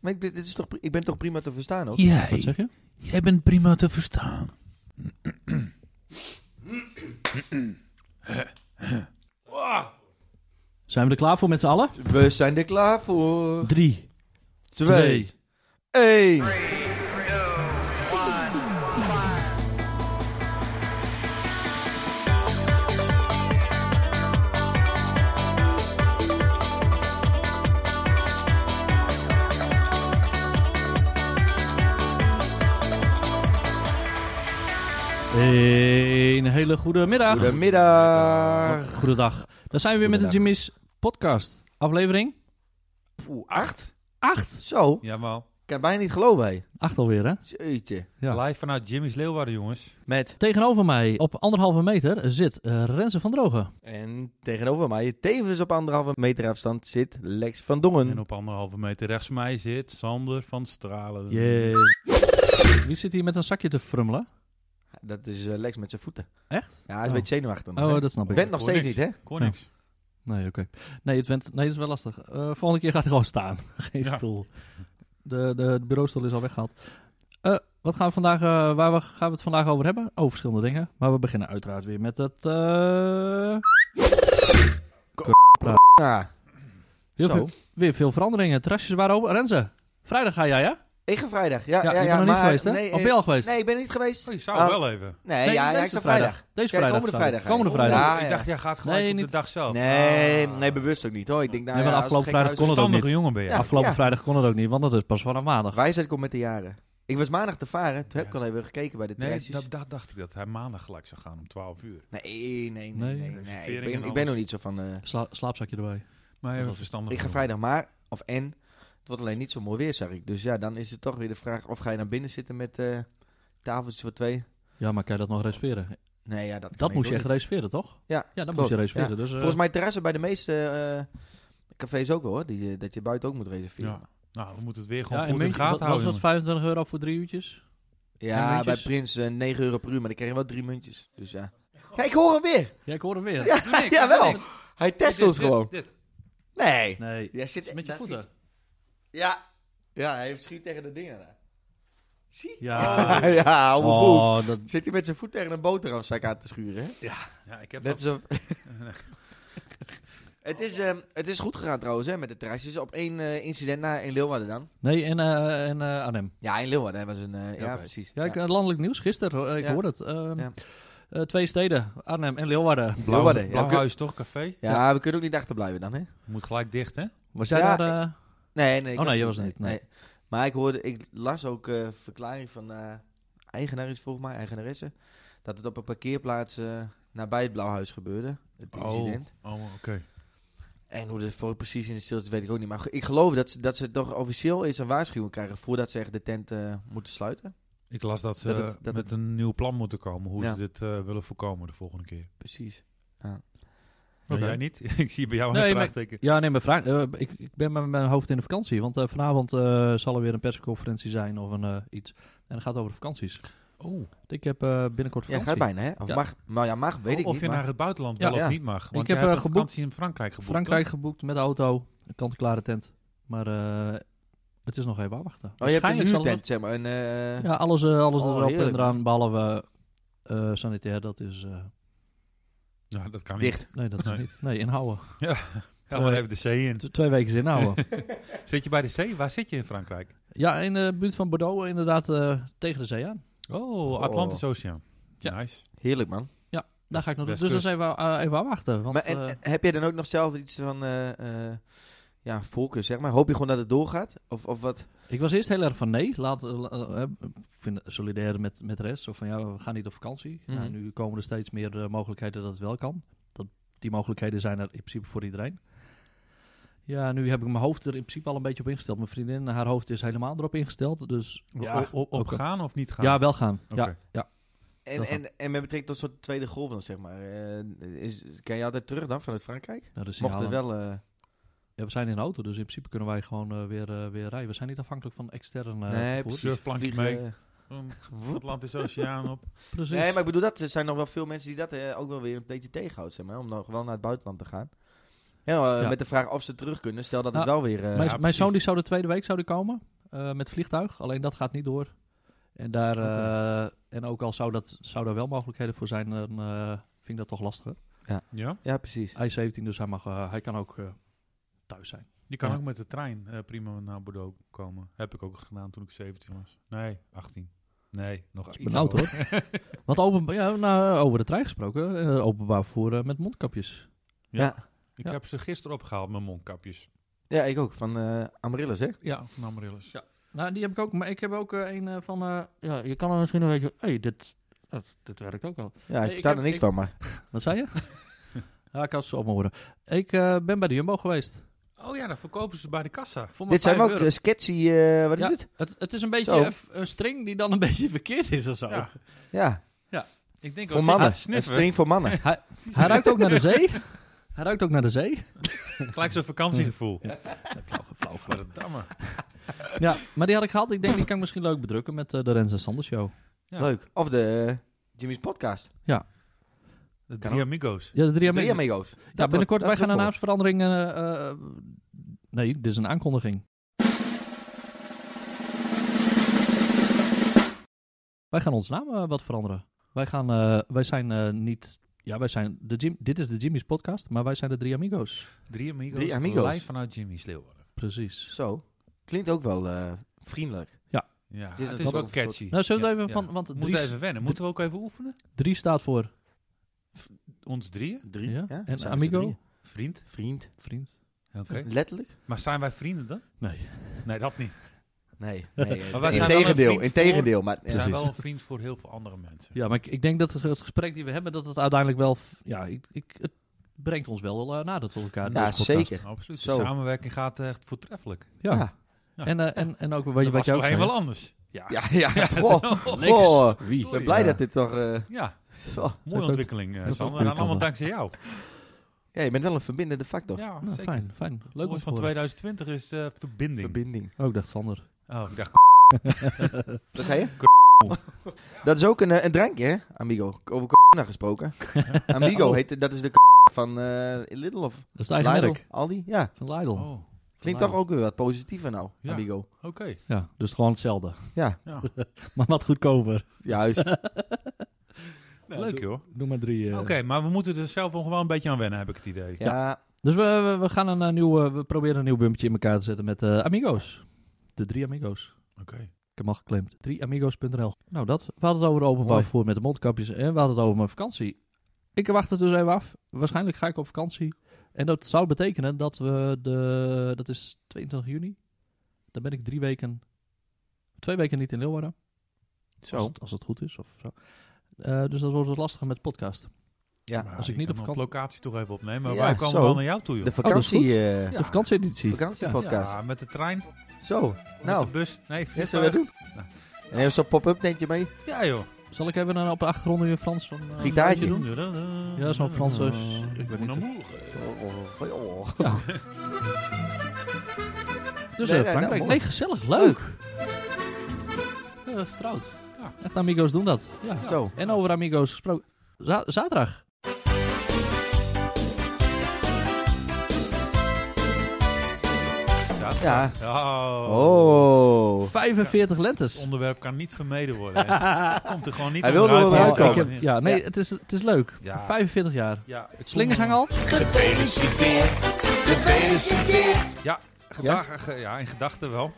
Maar ik, dit is toch, pri- ik ben toch prima te verstaan ook? Jij, Wat zeg je? jij bent prima te verstaan. Zijn we er klaar voor met z'n allen? We zijn er klaar voor. Drie, Twee, één. Een hele goede middag. Goedemiddag. Goedendag. Dan zijn we weer met de Goedendag. Jimmy's podcast. Aflevering Oeh, acht? 8. Zo, Jawel. kan bijna niet geloven, hé. 8 alweer, hè? Jeetje. Ja. Live vanuit Jimmy's Leeuwarden, jongens. Met. Tegenover mij op anderhalve meter zit eh, Renze van Drogen. En tegenover mij, tevens op anderhalve meter afstand, zit Lex van En Dongen. op anderhalve meter rechts van mij zit Sander van Stralen. Jee. Wie zit hier met een zakje te frummelen? Dat is eh, Lex met zijn voeten. Echt? Ja, hij is een Oh. beetje zenuwachtig. nog, Oh, hè? dat snap ik. Went nog Kon steeds niet, niks. hè? Kon niks. Nee, oké. Nee, het went, nee, dat is wel lastig. Eh, volgende keer gaat hij gewoon staan. Geen Ja. stoel. De, de, de bureaustoel is al weggehaald. Eh, wat gaan we vandaag, eh, waar we, gaan we het vandaag over hebben? Over verschillende dingen. Maar we beginnen uiteraard weer met het... eh, Ja. Heel Ah. Zo. veel- weer veel veranderingen. Terrasjes waren open. Renze, vrijdag ga jij, hè? Ik ga vrijdag. Ja, Ja, ja, ja, ik ben nog maar, niet geweest, hè? Nee, of eh, ben je al geweest? nee, ik ben niet geweest. Oh, je zou Ah, wel even. Nee, ja, ja, ik deze sta vrijdag. Deze Kijk, vrijdag. komende staat het. vrijdag, hè? Komende Ja, vrijdag. ja. Ik dacht, jij gaat gelijk Nee, op niet- de dag zelf. Nee, Ah. nee, bewust ook niet hoor. Ik denk, nou, Nee, ja, maar als het afgelopen vrijdag gekhuis kon het ook Verstandige niet. jongen ben je. Ja. Afgelopen vrijdag kon het ook niet, want dat is pas vanaf maandag. is, Wijsheid komt met de jaren. Ik was maandag te varen. Toen heb ik Ja. al even gekeken bij de Nee, terrasjes. dat, dat dacht ik dat hij maandag gelijk zou gaan om 12 uur. Nee, nee, nee, nee. Nee. nee. Ik, Vering ben, en ik ben nog alles. niet zo van... eh, Sla- slaapzakje erbij. Maar even was- verstandig. ik ga jongen. vrijdag maar, of en. Het wordt alleen niet zo mooi weer, zag ik. Dus ja, dan is het toch weer de vraag of ga je naar binnen zitten met eh tafeltjes voor twee. Ja, maar kan je dat nog reserveren? Nee, ja, dat kan Dat ik moest je ook echt niet. reserveren, toch? Ja, Ja, dat klopt. moest je Ja. reserveren. Dus, eh, Volgens mij terrassen bij de meeste eh, cafés ook wel, hoor. Die, eh, dat je buiten ook moet reserveren. Ja. Nou, we moeten het weer ja, gewoon in goed in de München gaten was houden. dat 25 euro voor drie uurtjes? Ja, En bij muntjes? Prins eh, 9 euro per uur, maar dan krijg je wel drie muntjes. Dus ja. Kijk, ik hoor hem weer. Ja, ik hoor hem weer. Ja, jongen. Doe niks, jawel. doe niks. Hij test Dit, ons dit, gewoon. dit. Nee. Nee, Jij zit met je dat is voeten. iets. Ja. Ja, hij heeft schiet tegen de dingen daar. Zie? Ja. ja, oude boef. Oh, dat... Zit hij met zijn voet tegen een boterhamzak aan te schuren, hè? Ja, ik heb Net dat. zo... het, is, ehm, het is goed gegaan trouwens, hè, met de terrasjes. Op één eh, incident na in Leeuwarden dan. Nee, en, eh en eh, Arnhem. Ja, in Leeuwarden hè, was een... eh, Oké. Ja, precies. Ja, ik, eh, landelijk nieuws gisteren, eh, ik Ja. hoor het. Ehm, Ja. eh, twee steden, Arnhem en Leeuwarden. Blauw, Leeuwarden, ja, Blauwhuis toch, café? Ja, we kunnen ook niet achterblijven dan, hè? Moet gelijk dicht, hè? Was jij Ja, daar? eh, Nee, nee. ik Oh, nee, je was niet, nee. Maar ik hoorde, ik las ook eh verklaring van eh, eigenaar is volgens mij, eigenaresse, dat het op een parkeerplaats eh, nabij het Blauwhuis gebeurde, het incident. Oh, oh, oké. En hoe dat voor precies in de stilte is, weet ik ook niet. Maar ik geloof dat ze, dat ze toch officieel eens een waarschuwing krijgen voordat ze echt de tent eh, moeten sluiten. Ik las dat ze Dat het- dat met het- een nieuw plan moeten komen. Hoe Ja. ze dit eh, willen voorkomen de volgende keer. Precies. Nou, Oké. jij niet? ik zie bij jou Nee, een maar- vraagteken. Ja, nee, mijn vraag. eh, ik, ik ben met mijn hoofd in de vakantie. Want eh, vanavond eh, zal er weer een persconferentie zijn of een, eh, iets. En het gaat over vakanties. Oh, Ik heb eh, binnenkort Ja, vakantie. gaat bijna, hè? Of Ja. mag, nou ja, mag, weet ik of niet. je maar- naar het buitenland Ja. wel Ja. of niet mag. Want Ik je heb, hebt eh, een geboekt- vakantie in Frankrijk geboekt. Frankrijk geboekt met de auto. Een kant-en-klare tent. Maar eh, het is nog even afwachten. oh, je hebt een Waarschijnlijk zal het- huurtent, zeg maar. Een, eh, Ja, alles, eh, alles Oh, erop en heerlijk. eraan. Behalve eh, sanitair. Dat is... eh, toch? Nou, dat kan niet. Dicht. nee, dat is Nee. niet. Nee, inhouden. Ga maar even de zee in. T- twee weken is inhouden. Zit je bij de zee? Waar zit je in Frankrijk? ja, in de buurt van Bordeaux inderdaad eh, tegen de zee aan. Oh, Atlantisch Oceaan. Ja. Nice. Heerlijk, man. Daar ga ik nog Dus Westkust. dat zijn we eh, even afwachten. Want, Maar en, eh, en heb jij dan ook nog zelf iets van eh, eh, ja, voorkeur, zeg maar? Hoop je gewoon dat het doorgaat? Of, of wat? Ik was eerst heel erg van nee. Later, eh, eh, ik vind het solidair met, met de rest. Of van ja, we gaan niet op vakantie. Mhm. Nou, nu komen er steeds meer eh, mogelijkheden dat het wel kan. Dat, die mogelijkheden zijn er in principe voor iedereen. Ja, nu heb ik mijn hoofd er in principe al een beetje op ingesteld. Mijn vriendin, haar hoofd is helemaal erop ingesteld. Dus ja, O- o- op ook- gaan of niet gaan? ja wel gaan. Ja, nou, Oké. En, Dat en, en met betrekking tot soort tweede golf dan, zeg maar. eh, is, kan je altijd terug dan vanuit Frankrijk? nou, de Mocht het signalen- wel... eh, Ja, we zijn in de auto, dus in principe kunnen wij gewoon eh, weer, eh, weer rijden. We zijn niet afhankelijk van extern eh, nee, vervoer. precies. surfplankje Vliegen, mee. eh, Um, Atlantische Oceaan op. Precies. Nee, maar ik bedoel, dat, er zijn nog wel veel mensen die dat eh, ook wel weer een beetje tegenhoudt, zeg maar. Om nog wel naar het buitenland te gaan. Ja, eh, Ja. Met de vraag of ze terug kunnen. Stel dat het Nou, wel weer... eh, mijn, ja, mijn precies. zoon die zou de tweede week zou die komen. eh, met vliegtuig. Alleen dat gaat niet door. En, daar, eh, en ook al zou, dat, zou daar wel mogelijkheden voor zijn, dan eh, vind ik dat toch lastiger. Ja? Ja, precies. Hij is 17, dus hij, mag, eh, hij kan ook eh, thuis zijn. Je kan Ja. ook met de trein eh, prima naar Bordeaux komen. Heb ik ook gedaan toen ik 17 was. Nee, 18. Nee, nog iets benauwd, ouder. Want open, ja, nou, over de trein gesproken, eh, openbaar vervoer eh, met mondkapjes. Ja. Ja. ik Ja. heb ze gisteren opgehaald, mijn mondkapjes. ja, ik ook. Van eh Amaryllis, hè? Ja, van Amaryllis. Ja. Nou, die heb ik ook. Maar ik heb ook eh, een eh, van... eh, ja, je kan er misschien een beetje... hey, dit, dat- dit werkt ook wel. Ja, Nee, ik ik versta heb- er niks ik- van, maar... Wat zei je? ja, ik had ze op me horen. Ik eh, ben bij de Jumbo geweest. Oh ja, dan verkopen ze bij de kassa. Voor maar Dit zijn vijf wel ook euro. eh, sketchy... eh, wat is Ja, het? het? Het is een beetje Zo. een f- een string die dan een beetje verkeerd is of zo. Ja. Ja, Ik denk voor als ik aan mannen. het Een sniffen, string voor mannen. Hij ruikt ook naar de zee. Hij ruikt ook naar de zee. gelijk zo'n vakantiegevoel. Flauw, flauw, flauw. Verdamme. Ja, maar die had ik gehad. Ik denk, die kan ik misschien leuk bedrukken met eh, de Rens en Sander show. Ja. Leuk. Of de eh, Jimmy's podcast. De Kan drie ook. amigo's. Ja, de drie Drie amigos. amigo's. Ja, Dat binnenkort, wordt- wij dat gaan is een ook naamsverandering... eh, eh, nee, dit is een aankondiging. Wij gaan ons naam eh, wat veranderen. Wij, gaan, eh, wij zijn eh, niet... Ja, wij zijn... De Jim, dit is de Jimmy's podcast, maar wij zijn de drie amigos. Drie amigo's. Drie amigo's. Live vanuit Jimmy's Leeuwarden. wel. Precies. Zo. Klinkt ook wel eh, vriendelijk. Ja, Dit is het een is wel soort- catchy. Nou, zullen we Ja, even ja. van... Want Moeten we drie, even wennen. Moeten we ook even oefenen? drie staat voor... Ons drieën? Drie. Ja, Ja? en zijn ze amigo? drieën. Vriend? Vriend. Vriend? Oké. Letterlijk? Maar zijn wij vrienden dan? Nee. Nee, dat niet. Nee. nee eh, Maar wij zijn wel een integendeel, vriend integendeel. Maar, We ja. zijn Precies. wel een vriend voor heel veel andere mensen. Ja, maar ik, ik denk dat het, het gesprek die we hebben, dat het uiteindelijk wel... f- Ja, ik, ik, het brengt ons wel eh, nader tot elkaar. Ja, deze podcast. zeker. Nou, Absoluut. Zo. De samenwerking gaat eh, echt voortreffelijk. Ja. Ja. Ja. En, eh, en, en ook wat, Dat je- wat was jij ook voorheen zei. wel anders. Ja, ja. Goh. Niks. Goh. Wie? Ik ben blij dat dit toch... eh, Ja, zo. mooie ook- ontwikkeling, eh, ook Sander. En goede allemaal kanten. dankzij jou. Ja, je bent wel een verbindende factor. Ja, Nou, zeker. fijn, fijn. Leuk Leuk om van te horen. 2020 is eh, verbinding. Verbinding. Oh, ik dacht Sander. Oh, ik dacht, Dat ga je? dat is ook een, eh, een drankje, hè, amigo. Over corona gesproken. Amigo, Oh. heet, dat is de van eh Lidl of Dat is het eigen Lidl, merk Aldi. Ja, van Lidl. oh, klinkt Lidl. toch ook weer wat positiever nou, Ja. amigo. oké. Ja, dus gewoon hetzelfde. Ja, Ja. Maar wat goedkoper. juist. Leuk, joh. Noem maar drie. eh. Oké, maar we moeten er zelf nog wel een beetje aan wennen, heb ik het idee. ja, Dus we, we, we gaan een, eh, nieuw, eh, we proberen een nieuw bumpje in elkaar te zetten met eh, Amigos. De drie Amigos. Oké. Ik heb hem al geclaimd. 3amigos.nl Nou dat, we hadden het over openbaar Mooi. vervoer met de mondkapjes en we hadden het over mijn vakantie. Ik wacht het dus even af. Waarschijnlijk ga ik op vakantie. En dat zou betekenen dat we de, dat is 22 juni. Dan ben ik drie weken, twee weken niet in Leeuwarden. Zo. Als het, als het goed is of zo. Eh, dus dat wordt wat lastiger met podcast. ja. Maar als ik je niet kan op nog vakant- locatie toch even opnemen. Maar Ja, wij komen zo. wel naar jou toe, joh. de Oh, dat is goed. vakantie, eh, Ja. De vakantieeditie. vakantiepodcast. Ja, met de trein, Zo, nou. nou, met de bus. Nee, dit zullen we vliegtuig. doen. En even zo'n pop-up tentje mee. Ja, joh. Zal ik even dan op de achtergrond weer Frans van... eh, Gitaartje. doen? Ja, zo'n Franse- ik weet niet. Oh, oh, oh, oh. Dus Nee, nee, eh, Frankrijk. nou, Nee, mooi. gezellig. Leuk. Eh, vertrouwd. Ja. Echt amigos doen dat. Ja. Zo. En over amigos gesproken. Za- zaterdag. Ja. Oh. Oh. 45 lentes. Het onderwerp kan niet vermeden worden. hè. Komt er gewoon niet Hij wil wilde wel Ja, welkom. Oh, ik heb- ja, nee, Ja. Het, is, het is leuk. Ja. 45 jaar. Ja, ik Slingergang al? Gedag, ge- ja, in gedachten wel.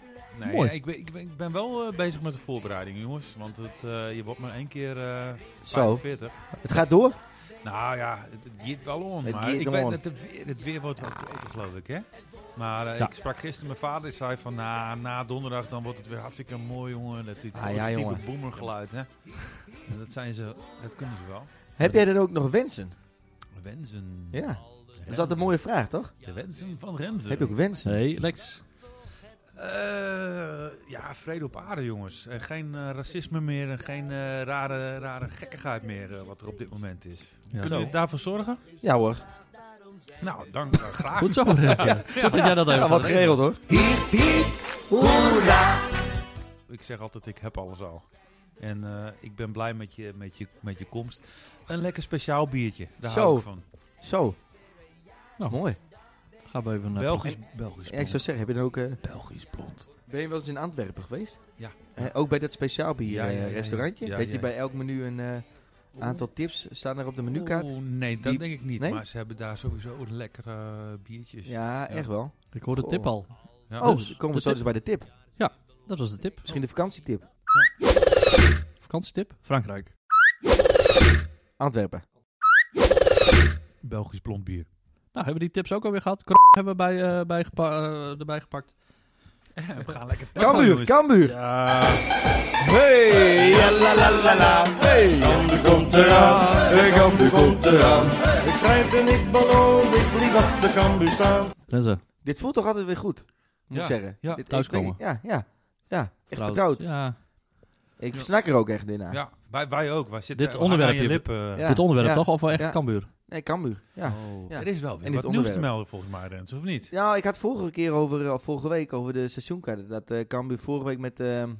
Nee, Mooi. Ik, ben, ik, ben, ik ben wel eh, bezig met de voorbereiding, jongens. Want het, eh, je wordt maar één keer eh Zo, 45. het gaat door. Nou ja, het, het giet wel om. Het maar giet ik wel weet om. dat het weer, het weer wordt wat beter, geloof ik, hè? Maar eh, Ja. ik sprak gisteren mijn vader. Die zei van, na, na donderdag dan wordt het weer hartstikke mooi, jongen. Dat dit Ah, ja, positieve jongen. boomergeluid, hè? En Dat, zijn ze, dat kunnen ze wel. Heb jij dan ook nog wensen? Wensen. Ja, Renzen. dat is altijd een mooie vraag, toch? De wensen van Renzen. Heb je ook wensen? Nee, Lex. Eh, ja, vrede op aarde, jongens. En geen eh, racisme meer en geen eh, rare, rare gekkigheid meer eh, wat er op dit moment is. Ja. Kunnen jullie daarvoor zorgen? Ja hoor. Nou, dan eh, graag. Goed zo, Rentje. Goed dat jij dat even Ja, wat geregeld hoor. Ik zeg altijd, ik heb alles al. En eh, ik ben blij met je, met, je, met je komst. Een lekker speciaal biertje, daar Zo. hou ik van. Zo. Nou. Mooi. Gaan we even... eh, Belgisch, Belgisch Ja, ik blond. zou zeggen, heb je dan ook... eh, Belgisch blond. Ben je wel eens in Antwerpen geweest? Ja. Eh, ook bij dat speciaal bier Ja, ja, eh, ja, ja. restaurantje? Ja, dat ja, je ja. bij elk menu een eh, aantal tips staan er op de menukaart? Oeh, nee, dat Die- denk ik niet. Nee? Maar ze hebben daar sowieso lekkere eh, biertjes. Ja, echt wel. Ik hoor de Goh. tip al. Ja. Oh, dus dan komen we de zo tip. dus bij de tip. Dat was de tip. Misschien de vakantietip. Vakantietip? Frankrijk. Antwerpen. Belgisch blond bier. Nou, hebben we die tips ook alweer gehad. Kro hebben we bij, eh, bij gepa- eh, erbij gepakt. We gaan lekker Kambuur, dus. Kambuur. Ja. Hey, ja, la la la la. Hey, Kambuur komt eraan. Hey, Kambuur komt eraan. Ik schrijf en ik beloof, ik blijf achter Cambuur staan. Lenzen, Dit voelt toch altijd weer goed, moet Ja, ik zeggen. ja, Dit, ik thuiskomen. weet niet, Ja, ja. Ja, echt trouwens. vertrouwd. Ja. Ik Ja. snak er ook echt in aan. Ja, wij, wij ook. Wij zitten Dit aan onderwerp je hier- lippen. Ja, Dit onderwerp ja, toch? Of wel echt ja. Cambuur? Nee, Kambuur. Ja. Oh. Ja. Er is wel weer En dit wat nieuws te onderwerp. melden volgens mij, Rens, of niet? Ja, ik had vorige keer over, eh, vorige week over de seizoenkaarten. Dat eh Cambuur vorige week met ehm,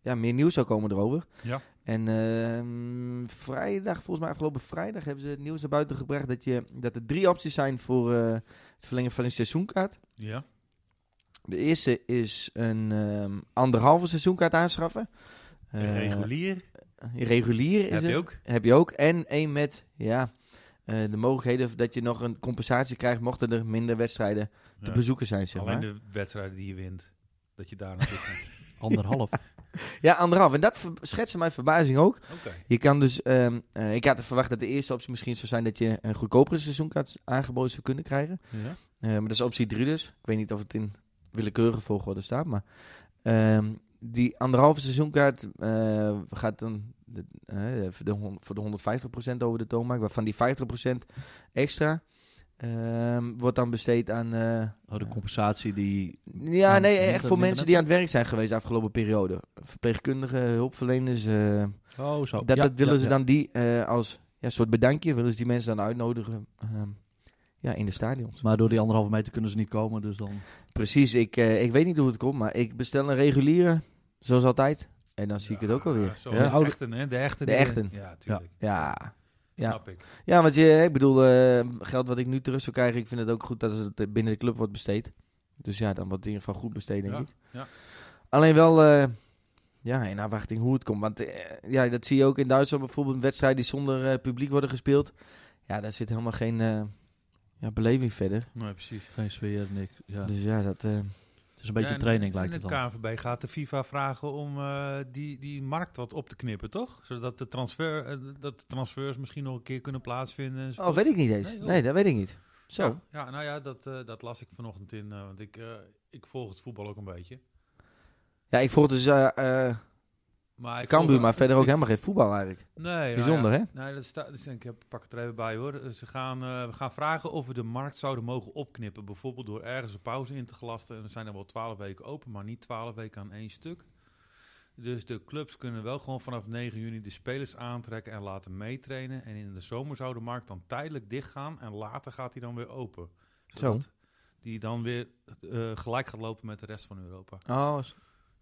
ja, meer nieuws zou komen erover. Ja. En ehm, vrijdag, volgens mij afgelopen vrijdag, hebben ze het nieuws naar buiten gebracht dat, je, dat er drie opties zijn voor eh, het verlengen van een seizoenkaart. Ja. De eerste is een ehm, anderhalve seizoenkaart aanschaffen. Eh, Regulier. Regulier is Heb het. je ook? Heb je ook. En één met ja, eh, de mogelijkheden dat je nog een compensatie krijgt mochten er minder wedstrijden te Ja. bezoeken zijn. Zeg Alleen maar. de wedstrijden die je wint. Dat je daar naartoe gaat. Anderhalf. Ja, anderhalf. En dat ver- schetste mijn verbazing ook. Oké. Je kan dus, ehm, eh, ik had verwacht dat de eerste optie misschien zou zijn dat je een goedkopere seizoenkaart aangeboden zou kunnen krijgen. Ja. Eh, maar dat is optie 3 dus. Ik weet niet of het in willekeurige volgorde staat, maar ehm, die anderhalve seizoenkaart eh, gaat dan de, eh, voor, de, hon- voor de 150% over de toonbank, waarvan die 50% extra ehm, wordt dan besteed aan, eh, Oh, de compensatie die... ja, Aan nee, minder- echt voor minder mensen die aan het werk zijn geweest de afgelopen periode. Verpleegkundigen, hulpverleners. eh, Oh, zo. dat, Ja, dat willen ja, ze ja. dan die eh, als ja, soort bedankje, willen ze die mensen dan uitnodigen ehm, ja, in de stadions. Maar door die anderhalve meter kunnen ze niet komen, dus dan... Precies, ik, eh, ik weet niet hoe het komt, maar ik bestel een reguliere, zoals altijd. En dan zie ik het ook alweer. Zo, ja. eh, De echten, hè? De echten. De die- echten. Ja, tuurlijk. Ja. Ja. Snap ik. ja, want je, ik bedoel, eh, geld wat ik nu terug zou krijgen, ik vind het ook goed dat het eh, binnen de club wordt besteed. Dus ja, dan wordt het in ieder geval goed besteed, denk Ja, ik. ja. Alleen wel eh, ja, in afwachting hoe het komt. Want eh, ja, dat zie je ook in Duitsland bijvoorbeeld. Wedstrijden die zonder eh, publiek worden gespeeld. Ja, daar zit helemaal geen eh, ja, beleving verder. Nee, precies. Geen sfeer, niks. Ja. Dus ja, dat... eh, Het is een beetje En- training, lijkt en het dan. het KNVB gaat de FIFA vragen om eh, die, die markt wat op te knippen, toch? Zodat de, transfer, eh, dat de transfers misschien nog een keer kunnen plaatsvinden. oh, enzovoort. weet ik niet eens. Nee, Nee, joh. dat weet ik niet. Zo. Ja, ja, nou ja, dat, eh, dat las ik vanochtend in. eh, want ik, eh, ik volg het voetbal ook een beetje. Ja, ik volg dus eh eh Maar ik Cambuur, volg- maar verder ook ik- helemaal geen voetbal eigenlijk. Nee, nou Bijzonder, eh, ja. hè? Nee, dat staat. dus ik heb, pak het er even bij hoor. Eh, Ze gaan, eh, we gaan vragen of we de markt zouden mogen opknippen. Bijvoorbeeld door ergens een pauze in te gelasten. En er zijn er wel twaalf weken open, maar niet twaalf weken aan één stuk. Dus de clubs kunnen wel gewoon vanaf 9 juni de spelers aantrekken en laten meetrainen. En in de zomer zou de markt dan tijdelijk dichtgaan en later gaat hij dan weer open. Zodat die dan weer eh, gelijk gaat lopen met de rest van Europa. Oh,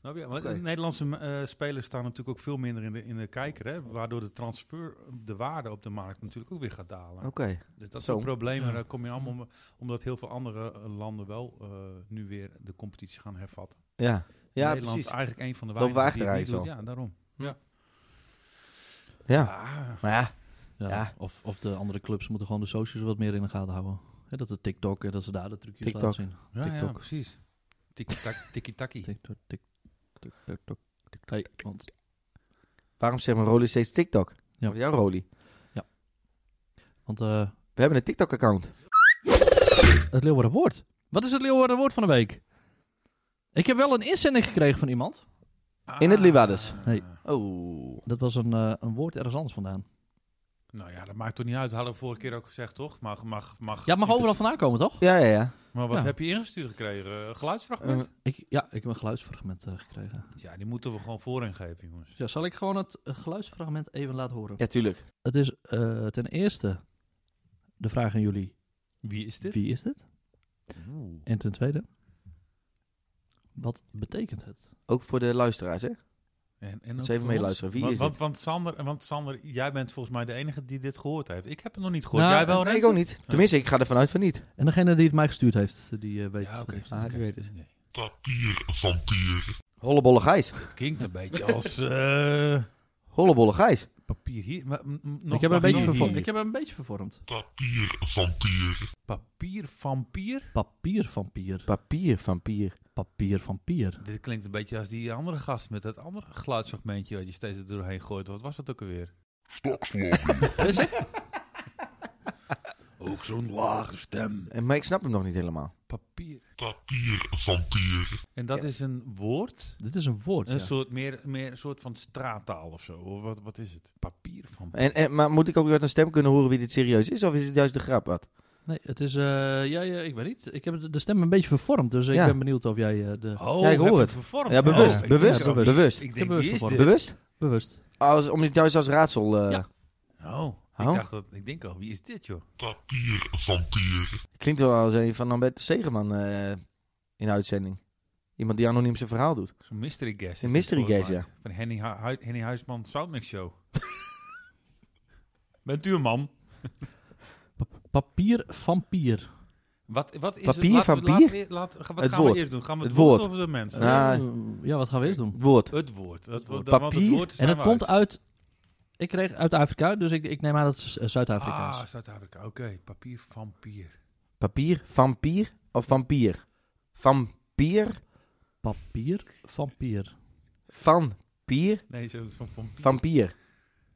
Snap je? Want Oké. de Nederlandse eh, spelers staan natuurlijk ook veel minder in de, in de kijker. Hè? Waardoor de transfer, de waarde op de markt natuurlijk ook weer gaat dalen. oké. Dus dat Zo. soort problemen Ja. daar kom je allemaal... om- Omdat heel veel andere eh, landen wel eh, nu weer de competitie gaan hervatten. Ja, ja Nederland precies. is eigenlijk een van de Lopen we weinigen die het achteruit niet doet. al. Ja, daarom. Ja. Ah, Maar ja, Ja. Ja. Of, of de andere clubs moeten gewoon de socials wat meer in de gaten houden. Hè, dat de TikTok, en dat ze daar de trucjes TikTok. laten zien. ja, ja, TikTok. precies. Tiki-tak- Tiki-taki. TikTok, tik- tik- TikTok, tik- nee, want- waarom zegt mijn Roly steeds TikTok? Ja. Of jouw Roly? Want eh, We hebben een TikTok-account. het Leeuwarden Woord. Wat is het Leeuwarden Woord van de week? Ik heb wel een inzending gekregen van iemand. In het Liwades. Ah. Nee. Oh. Dat was een, eh, een woord ergens anders vandaan. Nou ja, dat maakt toch niet uit. Hadden we vorige keer ook gezegd, toch? Mag, mag, mag, Ja, het mag in dus- overal principe- vandaan komen, toch? Ja, ja, ja. Maar wat Ja. heb je ingestuurd gekregen? Eh, geluidsfragment? Ik, ja, ik heb een geluidsfragment eh, gekregen. ja, die moeten we gewoon voorin geven, jongens. Ja, zal ik gewoon het eh, geluidsfragment even laten horen? Ja, tuurlijk. Het is eh, ten eerste de vraag aan jullie. Wie is dit? Wie is dit? Oeh. En ten tweede, wat betekent het? Ook voor de luisteraars, hè? En, en Moet ook ze even voor mee ons. luisteren. Wie want, is want, het? Want Sander, want Sander, jij bent volgens mij de enige die dit gehoord heeft. Ik heb het nog niet gehoord. Nou, jij wel, Nee, Rens? ik ook niet. Tenminste, ik ga er vanuit van niet. En degene die het mij gestuurd heeft, die eh, weet Ja, het. oké. wat ik zeg. Ah, die weet het. Nee. Hollebolle Gijs. Het klinkt een beetje als eh, Hollebolle Gijs. papier hier. Maar, m- m- nog Ik heb, hem een beetje papier vervo- hier. ik heb hem een beetje vervormd. Papier, vampier? Papier vampier. Papier vampier. Papier vampier. Dit klinkt een beetje als die andere gast met dat andere geluidsfragmentje wat je steeds er doorheen gooit. Wat was dat ook alweer? Is het? Ook zo'n lage stem. Eh, Maar ik snap hem nog niet helemaal. Papier. Papier, vampier. En dat is een woord? Dit is een woord. Een ja. soort, meer, meer een soort van straattaal of zo. Of wat, wat is het? Papier, vampier. En, en, maar moet ik ook uit een stem kunnen horen wie dit serieus is? Of is het juist de grap wat? Nee, het is... eh, ja, ja, ik weet niet. Ik heb de- de stem een beetje vervormd, dus ik Ja. ben benieuwd of jij eh, de... Oh, Ja, ik we hebben hoor het het. vervormd. Ja, bewust, Oh, ik bewust, denk dat- bewust. Ik heb denk, wie bewust is vervormd. dit? Bewust? Bewust. Als, om dit juist als raadsel... eh, Ja. Oh, ik, Oh. dacht dat, ik denk al, wie is dit joh? Klinkt wel als een van Ambert Segeman eh, in de uitzending. Iemand die anoniem zijn verhaal doet. Zo'n mystery guest. Een is dit mystery volgens guest, mij. ja. Van Henny, Hu- Hu- Henny Huisman Soundmix Show. Bent u een man? Papier vampier. Wat, wat is Papier, het? Laten we- vampier? laten we- laten we- wat Het gaan woord. we eerst doen? Gaan we het, Het woord. woord of de mensen? Ah. Eh, ja, wat gaan we eerst doen? Woord. Het woord. Het, woord. Papier. Want het woord En zijn het we komt uit. uit... Ik kreeg uit Afrika, dus ik, ik neem aan dat het Z- eh, Zuid-Afrika Ah, is. Zuid-Afrika. Oké, papier, vampier. Papier, vampier of vampier? Vampier, Papier vampier. vampier, Nee, zo van vampier. vampier.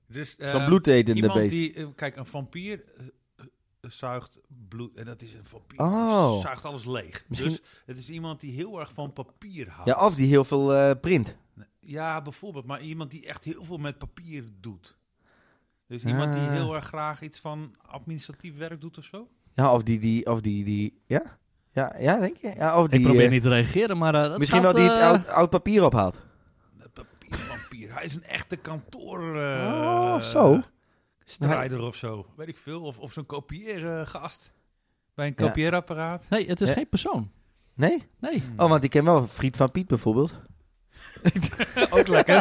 dus, eh, Zo'n bloedetende iemand beest. die, eh, Kijk, een vampier eh, eh, zuigt bloed. En dat is een vampier. Oh. Die zuigt alles leeg. Misschien- Dus het is iemand die heel erg van papier houdt. Ja, of die heel veel eh, print. Ja, bijvoorbeeld. Maar iemand die echt heel veel met papier doet. Dus iemand die Ah. heel erg graag iets van administratief werk doet of zo. Ja, of die, die, of die, die, ja? Ja, ja denk je? Ja, of die, Ik probeer eh, niet te reageren, maar... eh, dat misschien wel gaat, die het eh, oud, oud papier ophaalt. Een Papiervampier. Hij is een echte kantoor. eh, Oh, zo. Strijder of zo. Weet ik veel. Of, of zo'n kopieergast. Bij een Ja. kopieerapparaat. Nee, het is Ja. geen persoon. Nee? Nee. Oh, want ik ken wel Friet van Piet bijvoorbeeld. Ook Oh, lekker.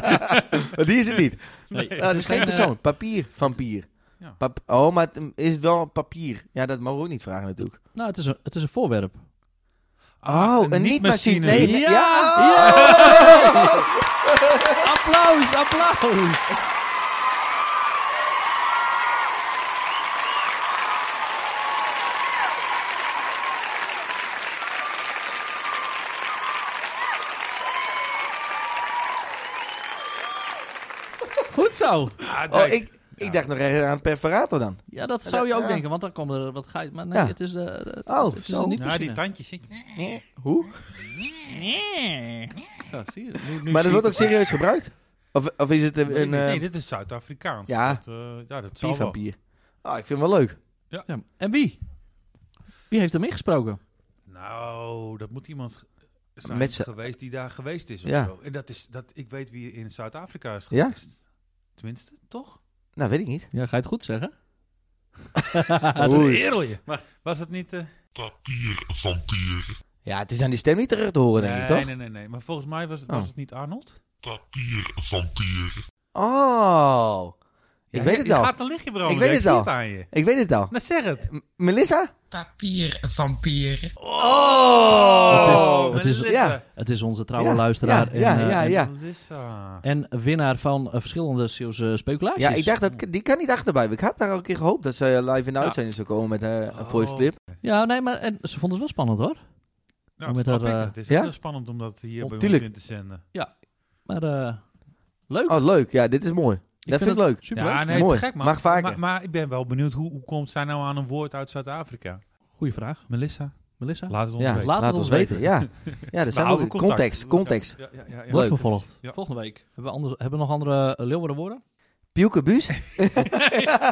Maar die is het niet. nee. Oh, dat is geen persoon. Papier, vampier. Ja. Pap oh, maar het, is het wel papier? Ja, dat mogen we ook niet vragen natuurlijk. Nou, het is een, het is een voorwerp. Oh, een niet-machine. Nee, nee, Ja! ja! applaus, applaus! Goed zo. Ah, Oh, ik, ik dacht nog echt aan perforator dan. Ja, dat zou je Ja. ook denken, want dan komt er wat ga je. Maar nee, Ja. het is de. de- Oh, het is zo. een niet Nou, die machine. tandjes. hè. Nee. Hoe? Zo, zie je. Maar Nu- nu zie dat je- wordt ook serieus gebruikt? Of, of is het een, Nee, een nee, nee, eh dit is Zuid-Afrikaans. ja. Dat, eh, ja, dat zal wel. papiervampier? Oh, ik vind het wel leuk. Ja. En wie? Wie heeft hem ingesproken? Nou, dat moet iemand zijn Met z'n- geweest die daar geweest is of Ja. zo. En dat is, dat, ik weet wie in Zuid-Afrika is Ja? geweest. Tenminste, toch? Nou, weet ik niet. Ja, ga je het goed zeggen? Oei. Erel je. Maar was het niet... eh, Ja, het is aan die stem niet terug te horen, denk nee, ik, toch? nee, nee, nee. Maar volgens mij was, Oh. was het niet Arnold? Oh. Ik Ja, weet je- het je al. gaat een lichtje branden. Ik weet hè? het zie al. aan je. Ik weet het al. Nou, zeg het. M- Melissa? Papiervampier. Oh, Het is- het is- Melissa. ja. Het is onze trouwe Ja, luisteraar. ja, en, ja, eh, ja, en- ja. Melissa. En winnaar van eh, verschillende Zeeuwse speculaties. Ja, ik dacht, dat, die kan niet achterblijven. Ik had daar al een keer gehoopt dat ze eh, live in de Ja. uitzending zou komen met eh, een Oh. voice clip. Ja, nee, maar en, ze vond het wel spannend hoor. Nou, Met dat snap haar, ik. eh, Het is ja? heel spannend om dat hier bij Tuurlijk. ons in te zenden. Maar eh, leuk. Oh, leuk. Ja, dit is mooi. dat vind ik het leuk. Super. Ja, nee, Mooi. te gek man. Mag vaker. Maar, maar ik ben wel benieuwd, hoe, hoe komt zij nou aan een woord uit Zuid-Afrika? Goeie vraag, Melissa, Melissa. laat het ons Ja, weten. Nou, laat het ons weten. Ja, ja er We zijn wel houden context. We- Context. Ja, ja, ja, ja. Wordt Leuk. vervolgd. Ja. Volgende week. Hebben we, anders, hebben we nog andere uh, woorden? Pielkebuus?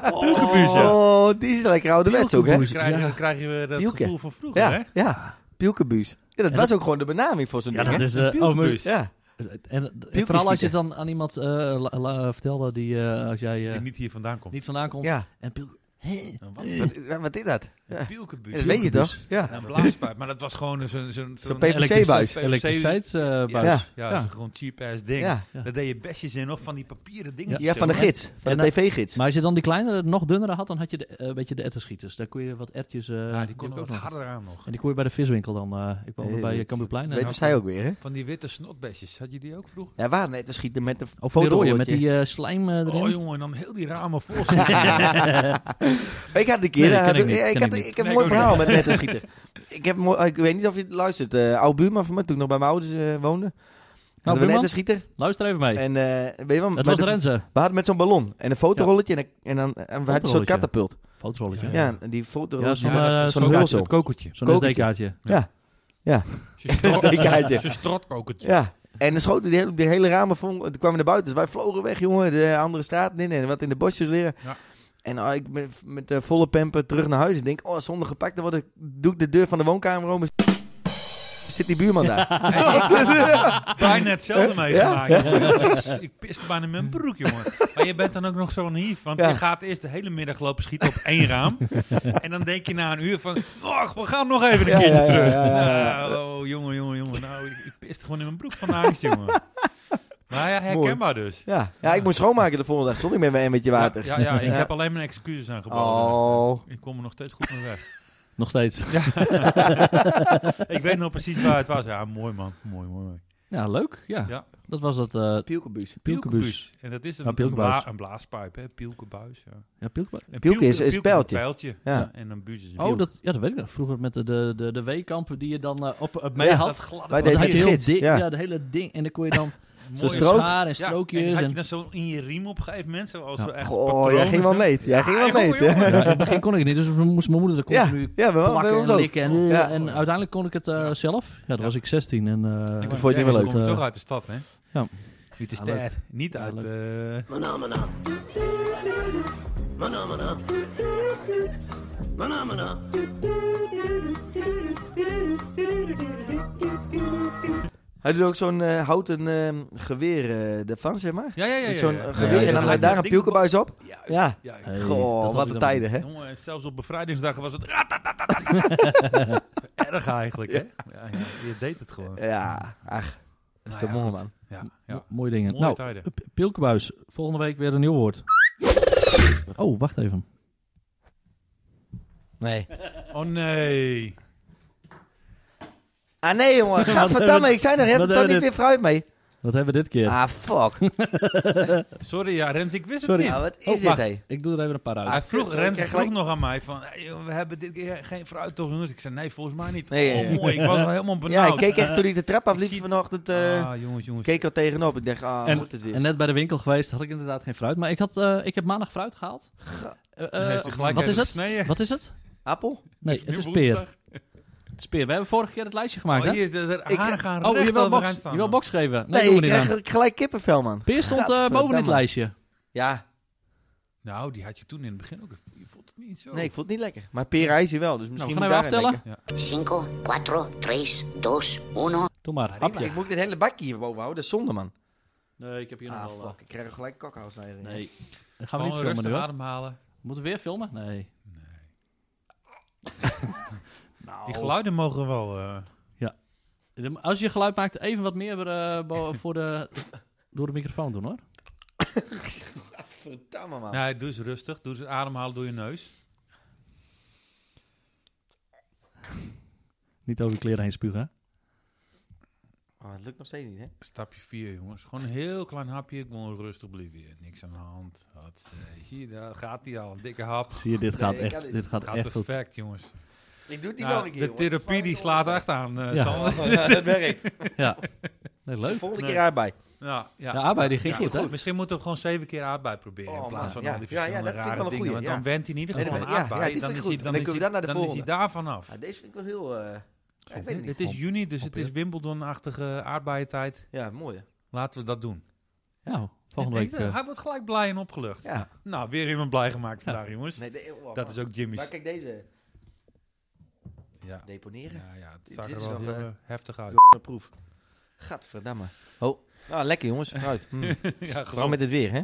Oh, Oh, die is lekker ouderwets ook, hè? Dan Dus krijg, je- Ja. dan krijg je weer dat Pielke. gevoel van vroeger, hè? Ja, ja. Pielkebuus. Ja, dat En was ook gewoon de benaming voor zo'n Ja, ding, dat hè? is... eh, oh, maar- Pielkebus. Ja. en, en vooral als je schieten. het dan aan iemand eh, la- la- vertelde die eh, als jij eh, Die niet hier vandaan komt. niet vandaan komt. Ja. En piel- En wat? Wat, wat is dat? Een pielkebuus. dat weet je toch? Ja. Ja, een Nou, blaaspijp. Maar dat was gewoon een- zo'n... zo'n zo'n PVC elektrici- buis. PVC Elektriciteitsbuis. Ja, ja. ja. zo'n gewoon cheap-ass ding. Ja. Ja. Daar deed je bestjes in of van die papieren dingen. ja, van de gids. Van de nou- tv-gids. Maar als je dan die kleinere nog dunnere had, dan had je de, eh, een beetje de etterschieters. Daar kon je wat ertjes... eh, Ja, die die kon er ook wat nog. harder aan nog. En die kon je bij de viswinkel dan... eh, ik woonde Nee, bij dat- eh, Cambuurplein. Dat en- weet zij ook weer, hè? Van die witte snotbestjes. Had je die ook vroeger? Ja, waar net te schieten met de Of die foto. Oh, rode, met die eh, slijm eh, erin. Oh jongen, en dan heel die ramen vol. zitten. Ik had een Nee, keer, dat ken eh, ik niet, eh, ik, ken had, ik niet. ik heb een Nee, mooi ik ook verhaal met net een schieter. ik, heb een mooi, ik weet niet of je het luistert. eh oud buurman van me, toen ik nog bij mijn ouders eh, woonde. Hadden we net buurman? een schieter. Luister even mee. En eh, weet je wel, Het met was de- Renze. we hadden met zo'n ballon en een fotorolletje en, een- en dan en we hadden een soort Fotorolletje. katapult. Fotorolletje. Ja, Ja, en die Ja, fotorolletje, zo'n, zo'n- eh, zo'n zo'n hulsel. kokertje. Zo'n Kokertje. SD-kaartje. Zo'n strot- Zekerheidje. Zo'n strotkokertje. Ja, en dan schoten die hele, die hele ramen vol. Toen kwamen we naar buiten. Dus wij vlogen weg, jongen. De andere straat in en wat in de bosjes liggen. Ja. En ah, ik ben met de volle pamper terug naar huis. En denk, oh, zonder gepakt. Dan word ik, doe ik de deur van de woonkamer open. Zit die buurman daar? Bijna hetzelfde meegemaakt. Ja? jongen. Ik piste bijna in mijn broek, jongen. Maar je bent dan ook nog zo naïef. Want Ja. je gaat eerst de hele middag lopen schieten op één raam. En dan denk je na een uur van... Och, we gaan nog even een Ja, keertje ja, ja, terug. ja, ja, ja. Nou, oh, jongen, jongen, jongen. Nou, ik, ik piste gewoon in mijn broek van de angst, jongen. Maar ja, herkenbaar dus. Ja. ja, ik moet schoonmaken de volgende dag. Stond ik met een beetje water. Ja, ja, ja, ik Ja. heb alleen mijn excuses aangeboden. Oh. Ik kom er nog steeds goed mee weg. Nog steeds. ik weet nog precies waar het was. Ja, mooi man. Mooi, mooi, mooi. Ja, leuk. Ja. Ja. Dat was dat... eh Pielkebuus. Pielkebuus. En dat is een, Ja, een, pielkebuis. bla- een blaaspijp, hè? Pielkebuis, ja. Ja, Pielkebuis. Een Pielke is- is een pijltje. pijltje. Ja. Ja, En een buus is een Oh, pielke. dat, ja, dat weet ik nog. Vroeger met de, de, de, de weekampen die je dan eh, op, op mee Ja, had. dat gladde Wij Want dan deden had je die heel gids. dik, ja. Ja. dat hele ding. En dan kon je dan mooie strook. schaar en Ja, strookjes. en had en je dan zo in je riem op een gegeven moment, zoals Ja. we echt Oh, jij ging wel meet. Jij ging wel meet. Ja, Ja, in het begin kon ik niet, dus moest mijn moeder er ja, continu ja bij- Oh, bij plakken ons en ook. likken. En, Ja. en uiteindelijk kon ik het eh, zelf. Ja, toen Ja. was ik 16. En, eh, toen vond je het niet meer leuk. kom je Eh, toch uit de stad, hè? Ja. Niet de Ja, stad. leuk. Niet Ja, uit... leuk. eh, Manamana. Manamana. Manamana. Hij doet ook zo'n eh, houten eh, geweer eh, ervan, zeg maar. Ja, ja, ja. ja, Dus Zo'n ja. eh, Ja, geweer ja, en dan ja. daar een pielkebuis op. Ja, Ja. ja, hey, dat was Goh, wat weer een dan- tijden, hè? Jongen, en zelfs op bevrijdingsdagen was het... ratatatatata. Erg eigenlijk, hè? Ja, ja, je deed het gewoon. Ja, ach. Dat is Nou toch ja, mooi, man. Ja, Mo- ja. Mooie dingen. Mooie nou, tijden. P- Pilkebuis, volgende week weer een nieuw woord. Oh, wacht even. Nee. Oh nee. Ah nee, jongen. Gadverdamme, ik zei nog, je hebt Wat er toch niet hebben we weer fruit mee? Wat hebben we dit keer? Ah, fuck. Sorry, ja, Rens, ik wist Sorry. het Ja, niet. wat is Oh, dit, wacht. hé? Ik doe er even een paar uit. Hij vroeg, kut, ik Rens krijg vroeg gelijk- nog aan mij van, hey, joh, we hebben dit keer geen fruit toch jongens? Ik zei, nee, volgens mij niet. Nee, ja, oh, ja. mooi, ik was al helemaal Ja, nou. benauwd. ik keek echt toen ik de trap Ik afliep zie- vanochtend. eh, Ah, jongens, jongens. keek al tegenop. Ik dacht, ah, moet het En weer. net bij de winkel geweest had ik inderdaad geen fruit. Maar ik, had, eh, ik heb maandag fruit gehaald. Eh, eh, Dan heeft hij gelijk wat uit is de het? snee. Wat is het? Appel? Nee, Nu het is peer. woensdag. Het is peer. We hebben vorige keer het lijstje Oh, gemaakt, hè? hier, de, de Ik- haren gaan Oh, recht je wil, overeind box, staan, je wil man. box geven? Nee, Nee, doen ik we niet krijg aan. gelijk kippenvel, man. Peer stond eh, boven in het Gadverdamme. lijstje. Ja, Nou, die had je toen in het begin ook. Je voelt het niet zo. nee, ik vond het niet lekker. Maar peer je wel, dus Oh. Nou, we misschien gaan moet even daar aftellen. lekker. Cinco, cuatro, tres, dos, uno. Doe maar, hapje. Ik moet dit hele bakje hierboven houden, dat is zonde, man. Nee, ik heb hier nog Ah, wel... eh, fuck. Ik krijg er gelijk kokhalsneiging. eh, Nee. Dan gaan we Gewoon niet filmen nu, rustig hoor. ademhalen. Moeten we weer filmen? Nee. nou. Die geluiden mogen wel... eh, De- Als je geluid maakt, even wat meer eh, bo- voor de, door de microfoon doen hoor. Verdamme, Nou. man. Nee, doe eens rustig. Doe eens ademhalen door je neus. Niet over de kleren heen spugen. hè? Oh, het lukt nog steeds niet, hè? Stapje 4, jongens. Gewoon een heel klein hapje. Gewoon rustig blijven. hier. Niks aan de hand. Wat, zie je, daar gaat hij al. Een dikke hap. Zie je, dit gaat ik kan echt, dit- dit gaat Gaat echt goed. perfect, jongens. Ik doe het niet Nou, nog een keer, de hoor. therapie die slaat echt aan, eh Ja. Sander. Ja, dat werkt. Ja. Nee, leuk. Volgende Nee. keer aardbei. Ja, ja. De arbeid die ging Ja, goed, hè? Misschien moeten we gewoon zeven keer aardbei proberen Oh, in plaats van man. al die Ja, ja, ja, verschillende dat vind ik rare wel een dingen. goeie, Want dan went hij in ieder Nee, geval dat aan ben- ja, aardbei. ja, die dan vind ik is hij, goed. dan Dan is kunnen we hij- daar naar de dan is hij volgende. daar vanaf. Ja, deze vind ik wel heel... eh, ja, ik weet het Het niet. is juni, dus het is Wimbledon-achtige aardbeientijd. Ja, mooi. Laten we dat doen. Nou, volgende Ik- week. eh, Hij wordt gelijk blij en opgelucht. Ja. Nou, weer iemand blij gemaakt vandaag, jongens. Nee, de, oh, Dat man. is ook Maar Jimmy's. kijk deze. Ja, Deponeren. ja, ja, het Dit zag is er wel nog, heel eh, eh, heftig uit. Een proef. Gadverdamme. Oh, nou, lekker jongens. Fruit. Mm. Ja, Vooral gewoon. met het weer, hè?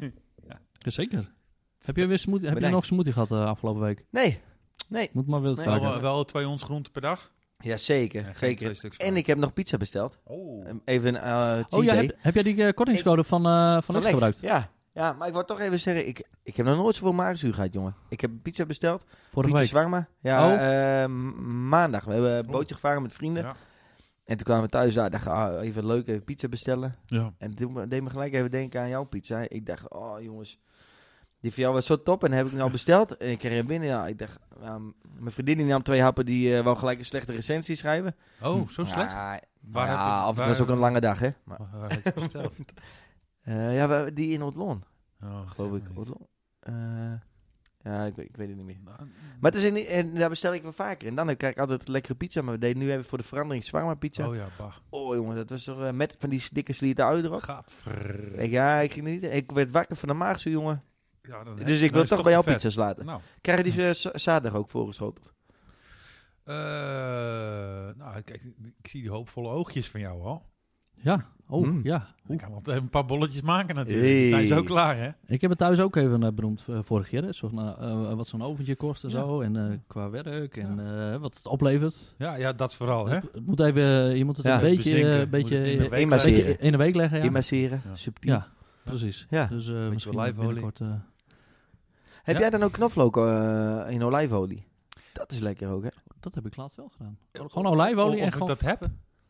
Zeker. Heb je, weer smoothie, heb je Bedankt. nog smoothie gehad eh, afgelopen week? Nee. Nee. Moet maar wel Nee. vaker. Wel, wel twee ons groenten per dag. Ja, zeker. En geen twee zeker. stuks En van. ik heb nog pizza besteld. Oh. Even een eh cheat oh ja, day. heb, heb jij die eh, kortingscode van, eh van, Van Lex Lex. gebruikt? Ja. ja, maar ik wil toch even zeggen, ik, ik heb nog nooit zoveel maagzuur gehad, jongen. Ik heb pizza besteld. Vorige pizza week. zwarma. Ja, Oh. eh, m- maandag. We hebben een bootje gevaren met vrienden. Oh. Ja. En toen kwamen we thuis daar. dacht ik, ah, even leuk, even pizza bestellen. Ja. En toen me- deed me gelijk even denken aan jouw pizza. Ik dacht, oh jongens, die van jou was zo top. En heb ik nou besteld. En ik kreeg hem binnen. Ja, ik dacht, ja, m- mijn vriendin die nam twee happen die eh, wel wou gelijk een slechte recensie schrijven. Oh, zo slecht? Ja, Waar heb ja, je- of het waar- was ook een lange dag, hè. Maar, Waar- waar heb je besteld? eh, ja, we- die in Odlon. Oh, geloof ik. zeg maar. Wat lo- eh, ja, ik weet, ik weet het niet meer. Nou, Maar het is in, en daar bestel ik wel vaker. En dan krijg ik altijd lekkere pizza. Maar we deden nu even voor de verandering zwarma pizza. Oh, Oh ja, bah. jongen, dat was toch eh, met van die dikke slierten ui erop. Gaat ver. Ik, ja, ik, ging niet, ik werd wakker van de maagse jongen. Ja, dan- Dus ik dan wil is toch het bij jou te vet. pizza's laten. Nou, Krijg je die eh, z- zaterdag ook voorgeschoteld? eh, nou kijk, ik zie die hoopvolle oogjes van jou al. Ja, oh Mm. ja. Ik kan wel even een paar bolletjes maken natuurlijk. Die Zijn ze Hey. ook klaar, hè? Ik heb het thuis ook even eh, benoemd eh, vorig jaar. Hè. Zo, van, eh, eh, wat zo'n oventje kost en Ja. zo. En eh, qua werk en eh, wat het oplevert. Ja, ja dat vooral, Oh, hè? Het moet even, eh, je moet het Ja. een beetje, eh, Bezinken. beetje, Moet het in de eh, week Eenmaal laten. zeer. beetje in de week leggen. Ja, Immerseren, Ja. subtiel. Ja. ja precies. Dus eh misschien olijfolie. binnenkort... eh, Heb Ja. jij dan ook knoflook eh, in olijfolie? Dat is lekker ook, hè? dat heb ik laatst wel gedaan. Gewoon olijfolie Of en ik gewoon... dat heb.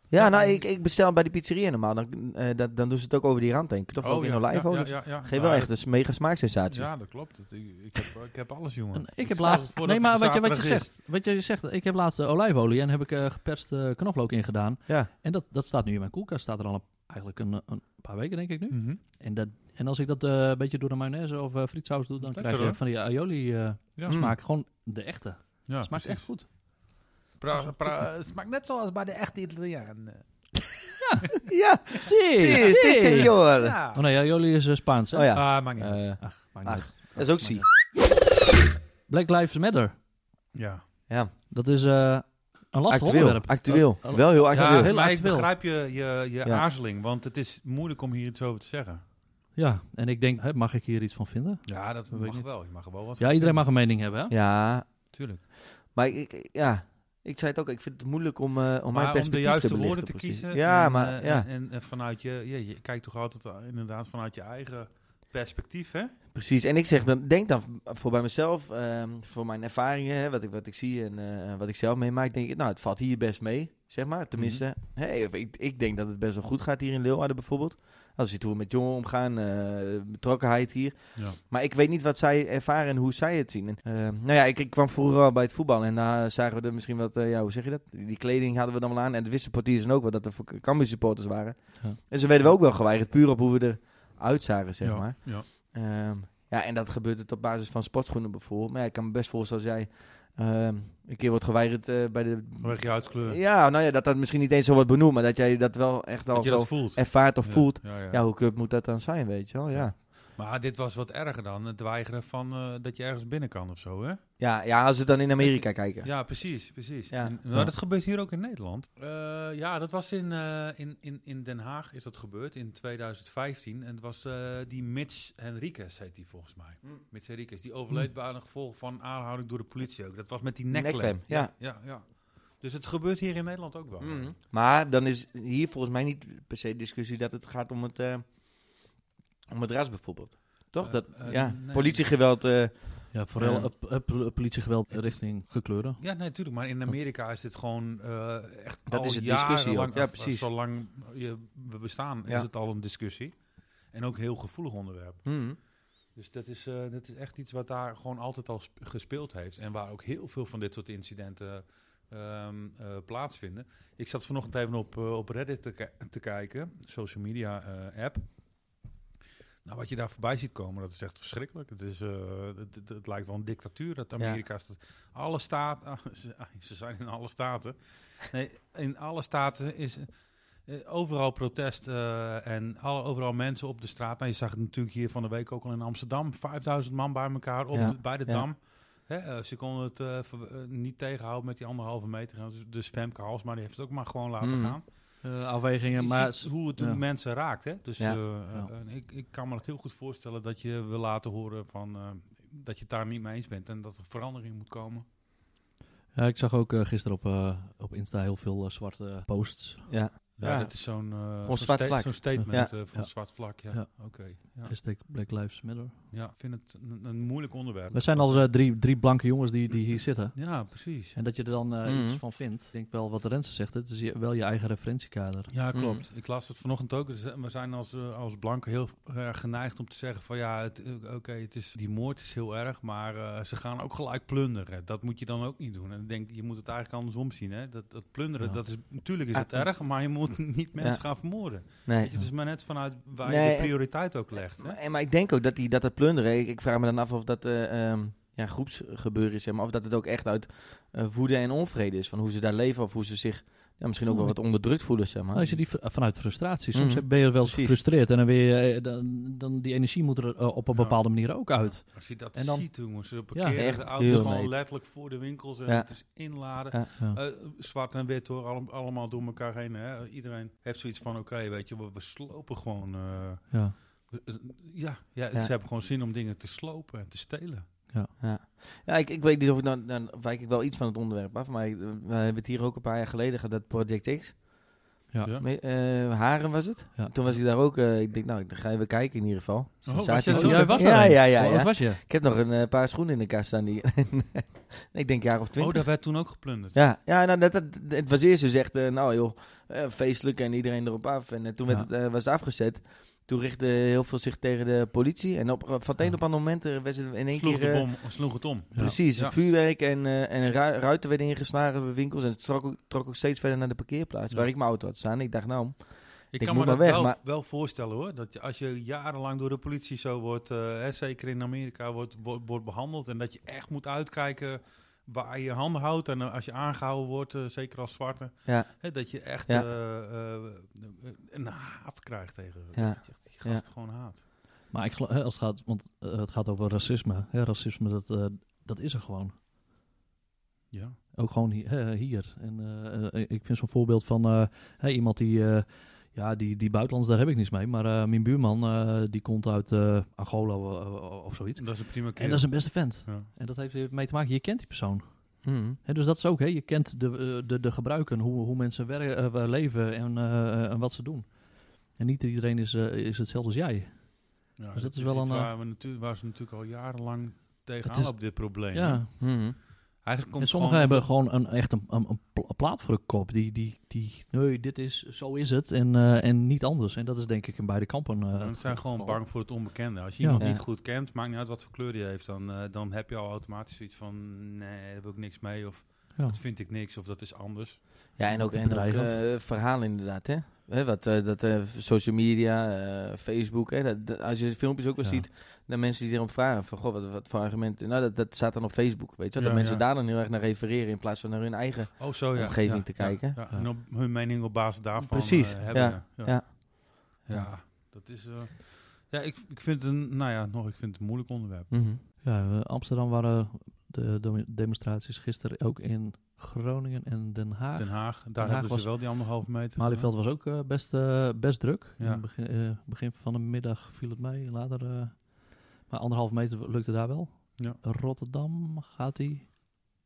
Ja, nou, ik, ik bestel bij de pizzeria normaal. Dan, eh, dat, dan doen ze het ook over die rand heen. Knoflook in olijfolie. Oh ja, ja, ja. dus Geef wel Ja, echt een mega smaaksensatie. Ja, dat klopt. Het- Ik, ik, heb, ik heb alles, jongen. En ik heb stel laatst. voor Nee, dat maar het wat je, wat je zaterdag is. zegt. Wat je zegt. Ik heb laatst eh, olijfolie en heb ik eh, geperst eh, knoflook in gedaan. Ja. En dat, dat staat nu in mijn koelkast. Staat er al een, eigenlijk een, eh, een paar weken, denk ik nu. Mhm. En, dat, en als ik dat eh, een beetje door de mayonaise of eh, frietsaus doe, dan Lekker, krijg je hoor. van die aioli eh, Ja. Hmm. smaak. Gewoon de echte. Het Ja, smaakt precies. echt goed. Pra- pra- het smaakt net zoals bij de echte Italiaan. eh. Ja, Zie, precies, dit zie. senor. Ja. Oh nee, aioli is eh, Spaans, hè? Oh ja, Ah, maakt niet uit. eh, Ach, maakt niet Ach. uit. dat is ook zie. Black Lives Matter. Ja. Dat is eh, een lastig Actueel, onderwerp. Oh, actueel. Wel heel Ja, actueel. heel maar ik actueel. begrijp je, je, je Ja. aarzeling, want het is moeilijk om hier iets over te zeggen. Ja, en ik denk, hè, mag ik hier iets van vinden? Ja, dat weet ik mag niet. wel. Je mag er wel wat Ja, iedereen mag een mening hebben, hè? Ja, Tuurlijk. maar ik, ik- ja, ik zei het ook, ik vind het moeilijk om, eh, om mijn Maar om de perspectief juiste te woorden belichten, te precies. kiezen. Ja, en, maar eh, ja, En, en vanuit je, ja, je kijkt toch altijd eh, inderdaad vanuit je eigen perspectief, hè? precies. En ik zeg, dan, denk dan voor bij mezelf, ehm, voor mijn ervaringen, hè, wat, ik, wat ik zie en eh, wat ik zelf meemaak, denk ik, nou, het valt hier best mee, zeg maar. Tenminste, Mhm. hè, ik, ik denk dat het best wel goed gaat hier in Leeuwarden bijvoorbeeld. Als je hoe we met jongeren omgaan, eh, betrokkenheid hier. Ja. Maar ik weet niet wat zij ervaren en hoe zij het zien. En, eh, nou ja, ik, ik kwam vroeger al bij het voetbal en daar zagen we er misschien wat, eh, ja, hoe zeg je dat? Die kleding hadden we dan wel aan en de wisten portiers en ook wel dat er voor Cambuur supporters waren. Ja. En ze werden we ook wel geweigerd, puur op hoe we eruit zagen, zeg ja. maar. Ja. Ehm, ja, en dat gebeurt het op basis van sportschoenen bijvoorbeeld. Maar ja, ik kan me best voorstellen als jij ehm, een keer wordt geweigerd eh, bij de... Vanwege je huidskleur. Ja, nou ja, dat dat misschien niet eens zo wordt benoemd, maar dat jij dat wel echt al dat je zo dat voelt. ervaart of Ja, voelt. Ja, ja. Ja, hoe kut moet dat dan zijn, weet je wel? Ja. Maar dit was wat erger dan het weigeren van eh, dat je ergens binnen kan of zo, hè? Ja, ja, als we dan in Amerika kijken. Ja, precies, precies. Ja. En- maar dat gebeurt hier ook in Nederland. Eh, ja, dat was in, eh, in, in, in Den Haag is dat gebeurd in 2015. En het was eh, die Mitch Henriquez, heet die volgens mij. Hm. Mitch Henriquez, die overleed bij een gevolg van aanhouding door de politie ook. Dat was met die nekklem. Nekklem, ja. Hm. ja, ja. Dus het gebeurt hier in Nederland ook wel. Maar dan is hier volgens mij niet per se discussie dat het gaat om het, eh, om het ras bijvoorbeeld. Toch? Eh, dat, eh, ja, nee. politiegeweld. eh, Ja, vooral Ja. eh, p- eh, politiegeweld richting gekleuren. Ja, nee, natuurlijk. Maar in Amerika is dit gewoon eh, echt Dat al is een jarenlang- discussie ook. Ja, of- precies. Zolang je, we bestaan Ja. is het al een discussie. En ook een heel gevoelig onderwerp. hmm. Dus dat is, eh, dat is echt iets wat daar gewoon altijd al sp- gespeeld heeft. En waar ook heel veel van dit soort incidenten ehm, eh, plaatsvinden. Ik zat vanochtend even op, eh, op Reddit te, ki- te kijken, social media eh, app. Nou, wat je daar voorbij ziet komen, dat is echt verschrikkelijk. Het, is, eh, het, het- het lijkt wel een dictatuur dat Amerika... staat- Alle staten... ah, ze, ah, ze zijn in alle staten. Nee, in alle staten is... eh, overal protest eh, en alle, overal mensen op de straat. Nou, je zag het natuurlijk hier van de week ook al in Amsterdam. 5000 man bij elkaar op Ja, de- bij de ja. Dam. Hè, eh, ze konden het eh, ver- eh, niet tegenhouden met die anderhalve meter. Dus, dus Femke Halsma die heeft het ook maar gewoon laten Mhm. gaan. Eh, Je afwegingen, maar... ziet hoe het de ja. mensen raakt. Hè? Dus Ja. eh, eh, en ik, ik kan me dat heel goed voorstellen dat je wil laten horen van, eh, dat je het daar niet mee eens bent en dat er verandering moet komen. Ja, ik zag ook eh, gisteren op, eh, op Insta heel veel eh, zwarte posts. Ja. Ja, Ja. dat is zo'n eh, zwart zo'n sta- vlak. zo'n statement eh, van Ja. zwart vlak. Ja, Ja. oké. Ja. Hashtag Black Lives Matter. Ja, ik vind het een, een moeilijk onderwerp. We zijn al eh, drie, drie blanke jongens die, die hier zitten. Ja, precies. En dat je er dan eh, Mhm. iets van vindt. Ik denk wel wat Rensen zegt, het is je- wel je eigen referentiekader. Ja, Mm. klopt. Ik las het vanochtend ook. Dus, eh, We zijn als, eh, als blanken heel erg geneigd om te zeggen van ja, het, eh, oké, het is die moord is heel erg, maar eh, ze gaan ook gelijk plunderen. Dat moet je dan ook niet doen. En ik denk, je moet het eigenlijk andersom zien. Hè? Dat, dat plunderen, Ja. dat is, natuurlijk is Ah, het erg, maar je moet niet mensen Ja. gaan vermoorden. Nee. Weet je, het is maar net vanuit waar Nee, je en- de prioriteit ook legt. Hè? Maar, en- maar ik denk ook dat, die, dat het plunderen... Ik, ik vraag me dan af of dat eh, ehm, ja, groepsgebeuren is. Zeg maar, of dat het ook echt uit eh, woede en onvrede is. Van hoe ze daar leven of hoe ze zich ja, misschien ook wel wat onderdrukt voelen. Zeg maar. Oh, Nou, als je die v- vanuit frustratie, soms Ah, Mhm. ben je wel eens Precies. gefrustreerd. En dan, weer, eh, dan, dan die energie moet er eh, op een Ja. bepaalde manier ook uit. Als je dat En dan- ziet, jongens, ze parkeren echt de heel auto's gewoon neet. letterlijk voor de winkels en Ja. het is inladen. Ja. Ja. Eh, zwart en wit hoor, allem- allemaal door elkaar heen. Hè? Iedereen heeft zoiets van, oké, weet je, we, we slopen gewoon. eh, Ja. we- eh, ja, ja, Ja. ze hebben gewoon zin om dingen te slopen en te stelen. Ja, ik, ik weet niet of ik nou, dan wijk ik wel iets van het onderwerp af, maar ik- eh, we hebben het hier ook een paar jaar geleden gehad, dat Project X. Ja. Ja. Oh, Me- eh, Haren was het. Ja. Toen was hij daar ook, eh, ik denk nou, dan ga je weer kijken in ieder geval. was je Sensatie. er Oh, zo? jij was ja, er een. ja, ja, Hoe oud ja. was je? Ik heb nog een eh, paar schoenen in de kast staan die, ik denk een jaar of Oh, twintig. daar werd toen ook geplunderd. Ja, ja nou, dat, dat- het was eerst dus echt, eh, nou joh, eh, feestelijk en iedereen erop af. En eh, toen werd Ja. het, eh, was het afgezet. Toen richtte heel veel zich tegen de politie. En op, van het een op ander moment eh, werd ze in één Sloeg, keer... de eh, bom, sloeg het om. Ja. Precies, Ja. vuurwerk en, eh, en ru- ruiten werden ingeslagen bij winkels. En het trok ook, trok ook steeds verder naar de parkeerplaats Ja. waar ik mijn auto had staan. Ik dacht, nou, Ik Ik kan me moet dat maar weg, wel, maar- wel voorstellen hoor. Dat je, als je jarenlang door de politie zo wordt, eh, hè, zeker in Amerika, wordt, wordt, wordt behandeld. En dat je echt moet uitkijken waar je je handen houdt. En eh, als je aangehouden wordt, eh, zeker als zwarte. Ja. Hè, dat je echt Ja. eh, eh, een haat krijgt tegen. Ja. Dat je echt die gast gewoon haat. Maar ik geloof, hè, als het gaat, want eh, het gaat over racisme. Hè, racisme, dat, eh, dat is er gewoon. Ja. Ook gewoon hi- eh, hier. En eh, eh, ik vind zo'n voorbeeld van eh, hè, iemand die... eh, ja, die, die buitenlands, daar heb ik niks mee. Maar eh, mijn buurman, eh, die komt uit eh, Angola eh, of zoiets. Dat is een prima keer. En dat is een beste vent. Ja. En dat heeft weer mee te maken, je kent die persoon. hmm, Hè, dus dat is ook, hè? je kent de, eh, de, de gebruiken, hoe, hoe mensen werken, eh, leven en, eh, en wat ze doen. En niet iedereen is, eh, is hetzelfde als jij. Ja, dat is wel iets een, eh, Waar, we natuur- waar ze natuurlijk al jarenlang tegenaan is- op dit probleem. hè. Ja. hmm. Eigenlijk komt En het sommigen gewoon- hebben gewoon een, echt een, een, een pla- een plaat voor de kop. Die, die, die, nee, dit is, zo is het en, eh, en niet anders. En dat is denk ik in beide kampen. eh, Want het ze zijn geval. gewoon bang voor het onbekende. Als je Ja. iemand Ja. niet goed kent, maakt niet uit wat voor kleur die heeft, dan, eh, dan heb je al automatisch zoiets van: nee, daar wil ik niks mee. Of Ja. dat vind ik niks. Of dat is anders. Ja, en ook, en ook Bedreigend. eh, verhalen inderdaad, hè. Hè, wat, eh, dat eh, social media, eh, Facebook, hè, dat, dat- als je de filmpjes ook wel Ja. ziet, dan mensen die erom vragen van, goh, wat, wat voor argumenten. Nou, dat, dat staat dan op Facebook, weet je wel. Dat Ja, mensen ja. daar dan heel erg naar refereren in plaats van naar hun eigen. Oh, zo ja. Omgeving te Ja, ja, kijken. ja. Ja. En op hun mening op basis daarvan. Precies, eh, hebben. ja, Ja. ja. Ja, dat is. eh, ja, ik, ik vind het een, nou ja, nog, ik vind het een moeilijk onderwerp. Mhm. Ja, eh, Amsterdam waren de demo- demonstraties gisteren ook in Groningen en Den Haag. Den Haag, daar Haag hebben ze was- wel die anderhalve meter. Malieveld was ook eh, best, eh, best druk. Ja. In het begin, eh, begin van de middag viel het mee. Later, eh, maar anderhalf meter lukte daar wel. Ja. Rotterdam gaat hij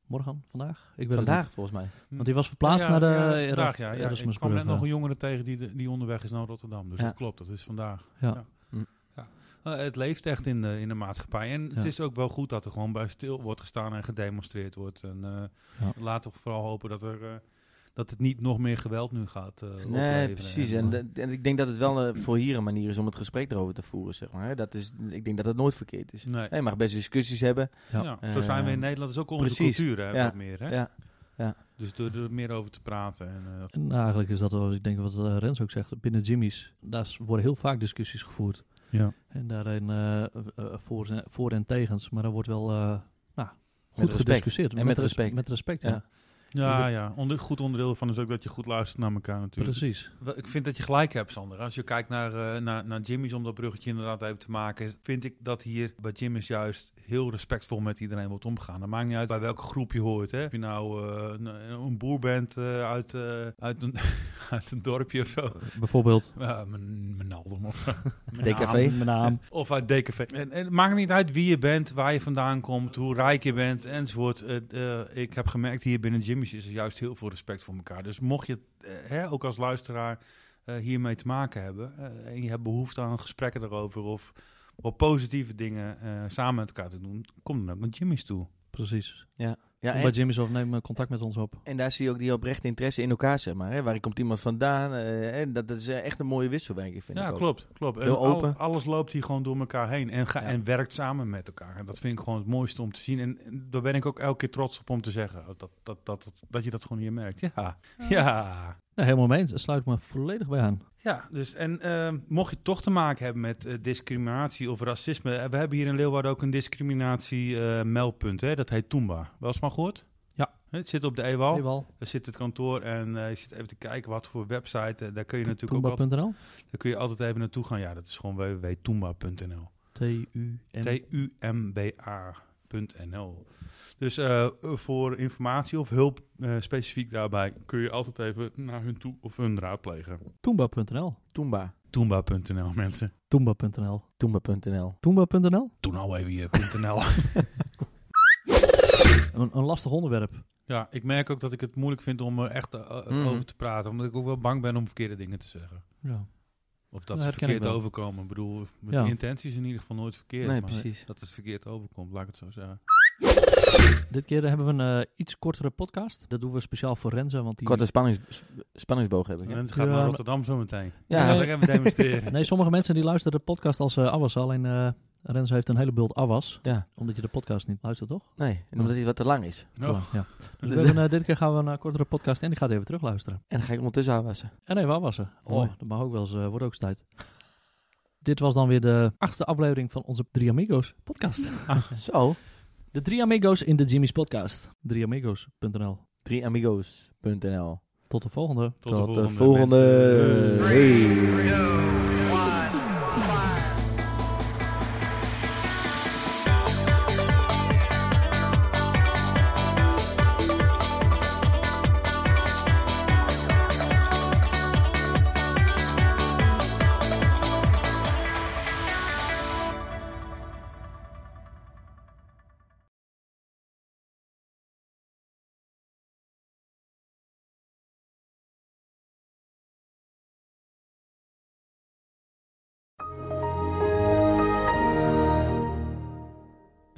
morgen, vandaag? Ik weet het Vandaag, volgens mij. niet. Want die was verplaatst Ja, naar de ja, Eras- vandaag, ja, ja. Ik kwam Erasmusbrug, eh. net ja. nog een jongere tegen die, de- die onderweg is naar Rotterdam. Dus Ja. dat klopt, dat is vandaag. Ja. Ja. Eh, het leeft echt in de, in de maatschappij. En Ja. het is ook wel goed dat er gewoon bij stil wordt gestaan en gedemonstreerd wordt. En eh, Ja. laten we vooral hopen dat, er, eh, dat het niet nog meer geweld nu gaat eh Nee, opleveren. precies. En, En, dat- en ik denk dat het wel eh, voor hier een manier is om het gesprek erover te voeren, zeg maar. hè. Dat is, ik denk dat het nooit verkeerd is. nee. Ja, Je mag best discussies hebben. Ja. Ja, zo zijn we in Nederland. Dat is ook onze precies. cultuur hè, Ja. wat meer. Hè? Ja. Ja. Dus door er meer over te praten. En, eh, En eigenlijk is dat wel, ik denk wat eh, Rens ook zegt, binnen Jimmy's, daar s- worden heel vaak discussies gevoerd. Ja. En daarin eh, eh, eh, voor, en- voor en tegens, maar daar wordt wel eh, nou, goed respect. gediscussieerd. En met res- respect. Met respect, ja. Ja. Ja, ja. Onder, goed onderdeel van is ook dat je goed luistert naar elkaar natuurlijk. Precies. Wel, Ik vind dat je gelijk hebt, Sander. Als je kijkt naar, eh, naar, naar Jimmy's, om dat bruggetje inderdaad even te maken, vind ik dat hier bij Jimmy's juist heel respectvol met iedereen wordt omgegaan. Dat maakt niet uit bij welke groep je hoort. Hè. Of je nou eh, een, een boer bent eh, uit, eh, uit, een, uit een dorpje of Eh. zo. Bijvoorbeeld. Ja, mijn mijn Naldum of zo. Mijn DKV. naam. Mijn naam. Of uit DKV. En, en het maakt niet uit wie je bent, waar je vandaan komt, hoe rijk je bent enzovoort. Het, eh, ik heb gemerkt hier binnen Jimmy's is er juist heel veel respect voor elkaar. Dus mocht je, eh, hè, ook als luisteraar, eh, hiermee te maken hebben. eh, en je hebt behoefte aan gesprekken daarover of wat positieve dingen eh, samen met elkaar te doen. Kom dan ook naar Jimmy's toe. Precies. Ja, Kom en- bij Jimmy's of neem eh, contact met ons op. En daar zie je ook die oprechte interesse in elkaar, zeg maar. Hè? Waar komt iemand vandaan? eh, en dat, dat is eh, echt een mooie wisselwerking, vind ja, ik ook. klopt. klopt. En Heel al- open. alles loopt hier gewoon door elkaar heen en, ga, Ja. en werkt samen met elkaar. En dat vind ik gewoon het mooiste om te zien. En, en daar ben ik ook elke keer trots op om te zeggen. oh, Dat, dat, dat, dat, dat je dat gewoon hier merkt. Ja, ja. Nou, helemaal mee eens. Daar sluit ik me volledig bij aan. Ja, dus en eh, mocht je toch te maken hebben met eh, discriminatie of racisme. eh, We hebben hier in Leeuwarden ook een discriminatie-meldpunt. hè? dat heet Toomba. Wel eens van gehoord? Ja. E Het zit op de E Oh, Ewal. Hey, Wal. Daar zit het kantoor en eh, ik zit even te kijken wat voor website. eh, daar kun je natuurlijk ook altijd, Toomba.nl. daar kun je altijd even naartoe gaan. Ja, dat is gewoon www.toomba.nl. T-U-M. T-U-M-B-A.nl. Dus eh, voor informatie of hulp eh, specifiek daarbij kun je altijd even naar hun toe of hun raadplegen. Toomba.nl. Toomba. Toomba.nl mensen. Toomba.nl. Toomba.nl. Toomba.nl. Toen al nou even hier.nl. Een, een lastig onderwerp. ja, ik merk ook dat ik het moeilijk vind om er echt eh, eh, Mm. Mhm. over te praten. Omdat ik ook wel bang ben om verkeerde dingen te zeggen. Ja. Of dat Ja, ze herken ik verkeerd wel. overkomen. Ik bedoel, met Ja. de intentie is in ieder geval nooit verkeerd. Nee, maar precies. Dat het verkeerd overkomt, laat ik het zo zeggen. Dit keer hebben we een eh, iets kortere podcast. Dat doen we speciaal voor Renze, want die... Korte spannings, sp- spanningsboog heb ik. hè? En het gaat Ja, naar maar- Rotterdam zo meteen. Ja. Ja, ik even demonstreren. Nee, sommige mensen die luisteren de podcast als eh Awas. Alleen eh Renze heeft een hele bult Awas. Ja. Omdat je de podcast niet luistert, toch? Nee, en omdat hij wat te lang is. Oh. Ja. Dus we hebben, eh, dit keer gaan we een eh, kortere podcast en ik ga het even terugluisteren. En dan ga ik ondertussen aanwassen. En even afwassen. Mooi. Oh, dat mag ook wel eens, eh, wordt ook eens tijd. Dit was dan weer de achtste aflevering van onze Drie Amigos podcast. Zo. De Drie Amigos in de Jimmy's podcast. Drieamigos.nl Drieamigos.nl Tot de volgende. Tot de volgende. de volgende. mensen. Hey.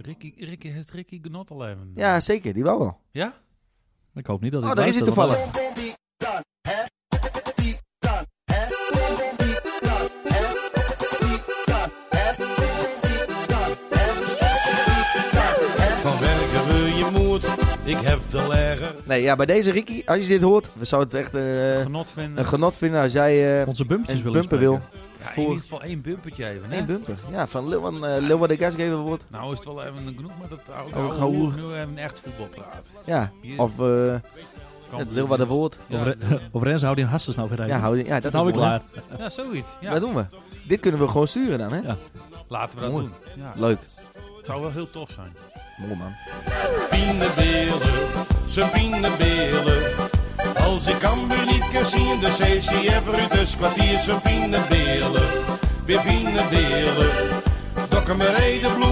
Ricky, Ricky, heeft Ricky Genot al even? Ja, zeker. Die wel wel. Ja? Ik hoop niet dat Oh, ik daar is hij luister, want toevallig. Van werken we je moed, ik heb de legger. Nee, ja, bij deze Ricky, als je dit hoort, we zouden het echt eh, genot vinden. een genot vinden als jij eh Onze bumpjes een willen bumper wil. ja, in voor- ieder geval één bumpertje even. Hè? Nee, bumper. Ja, van Leeuwen, eh Leeuwen de Gasgever wordt. nou is het wel even genoeg met dat oude, Oh, oude gauw. hoer. Nu hebben we echt voetbalpraat. Ja, Hier. of eh Kan- dus. het Leeuwen de Woord. Ja, Of, Re- of Renze houdt in Hassers nou gereden. Ja, hou, ja dat dat is hou ik mooi, hè? klaar. ja, zoiets. Ja, Dat doen we. Dit kunnen we gewoon sturen dan, hè? Ja. laten we dat Mooi. doen. Ja, Leuk. het zou wel heel tof zijn. Mooi, man. Pienebeelden, ze pienebeelden. Als ik Amber niet kan zien, dus heeft ze even uit het kwartier. Ze pienebeelden, weer pienebeelden. Dokken me reden bloed.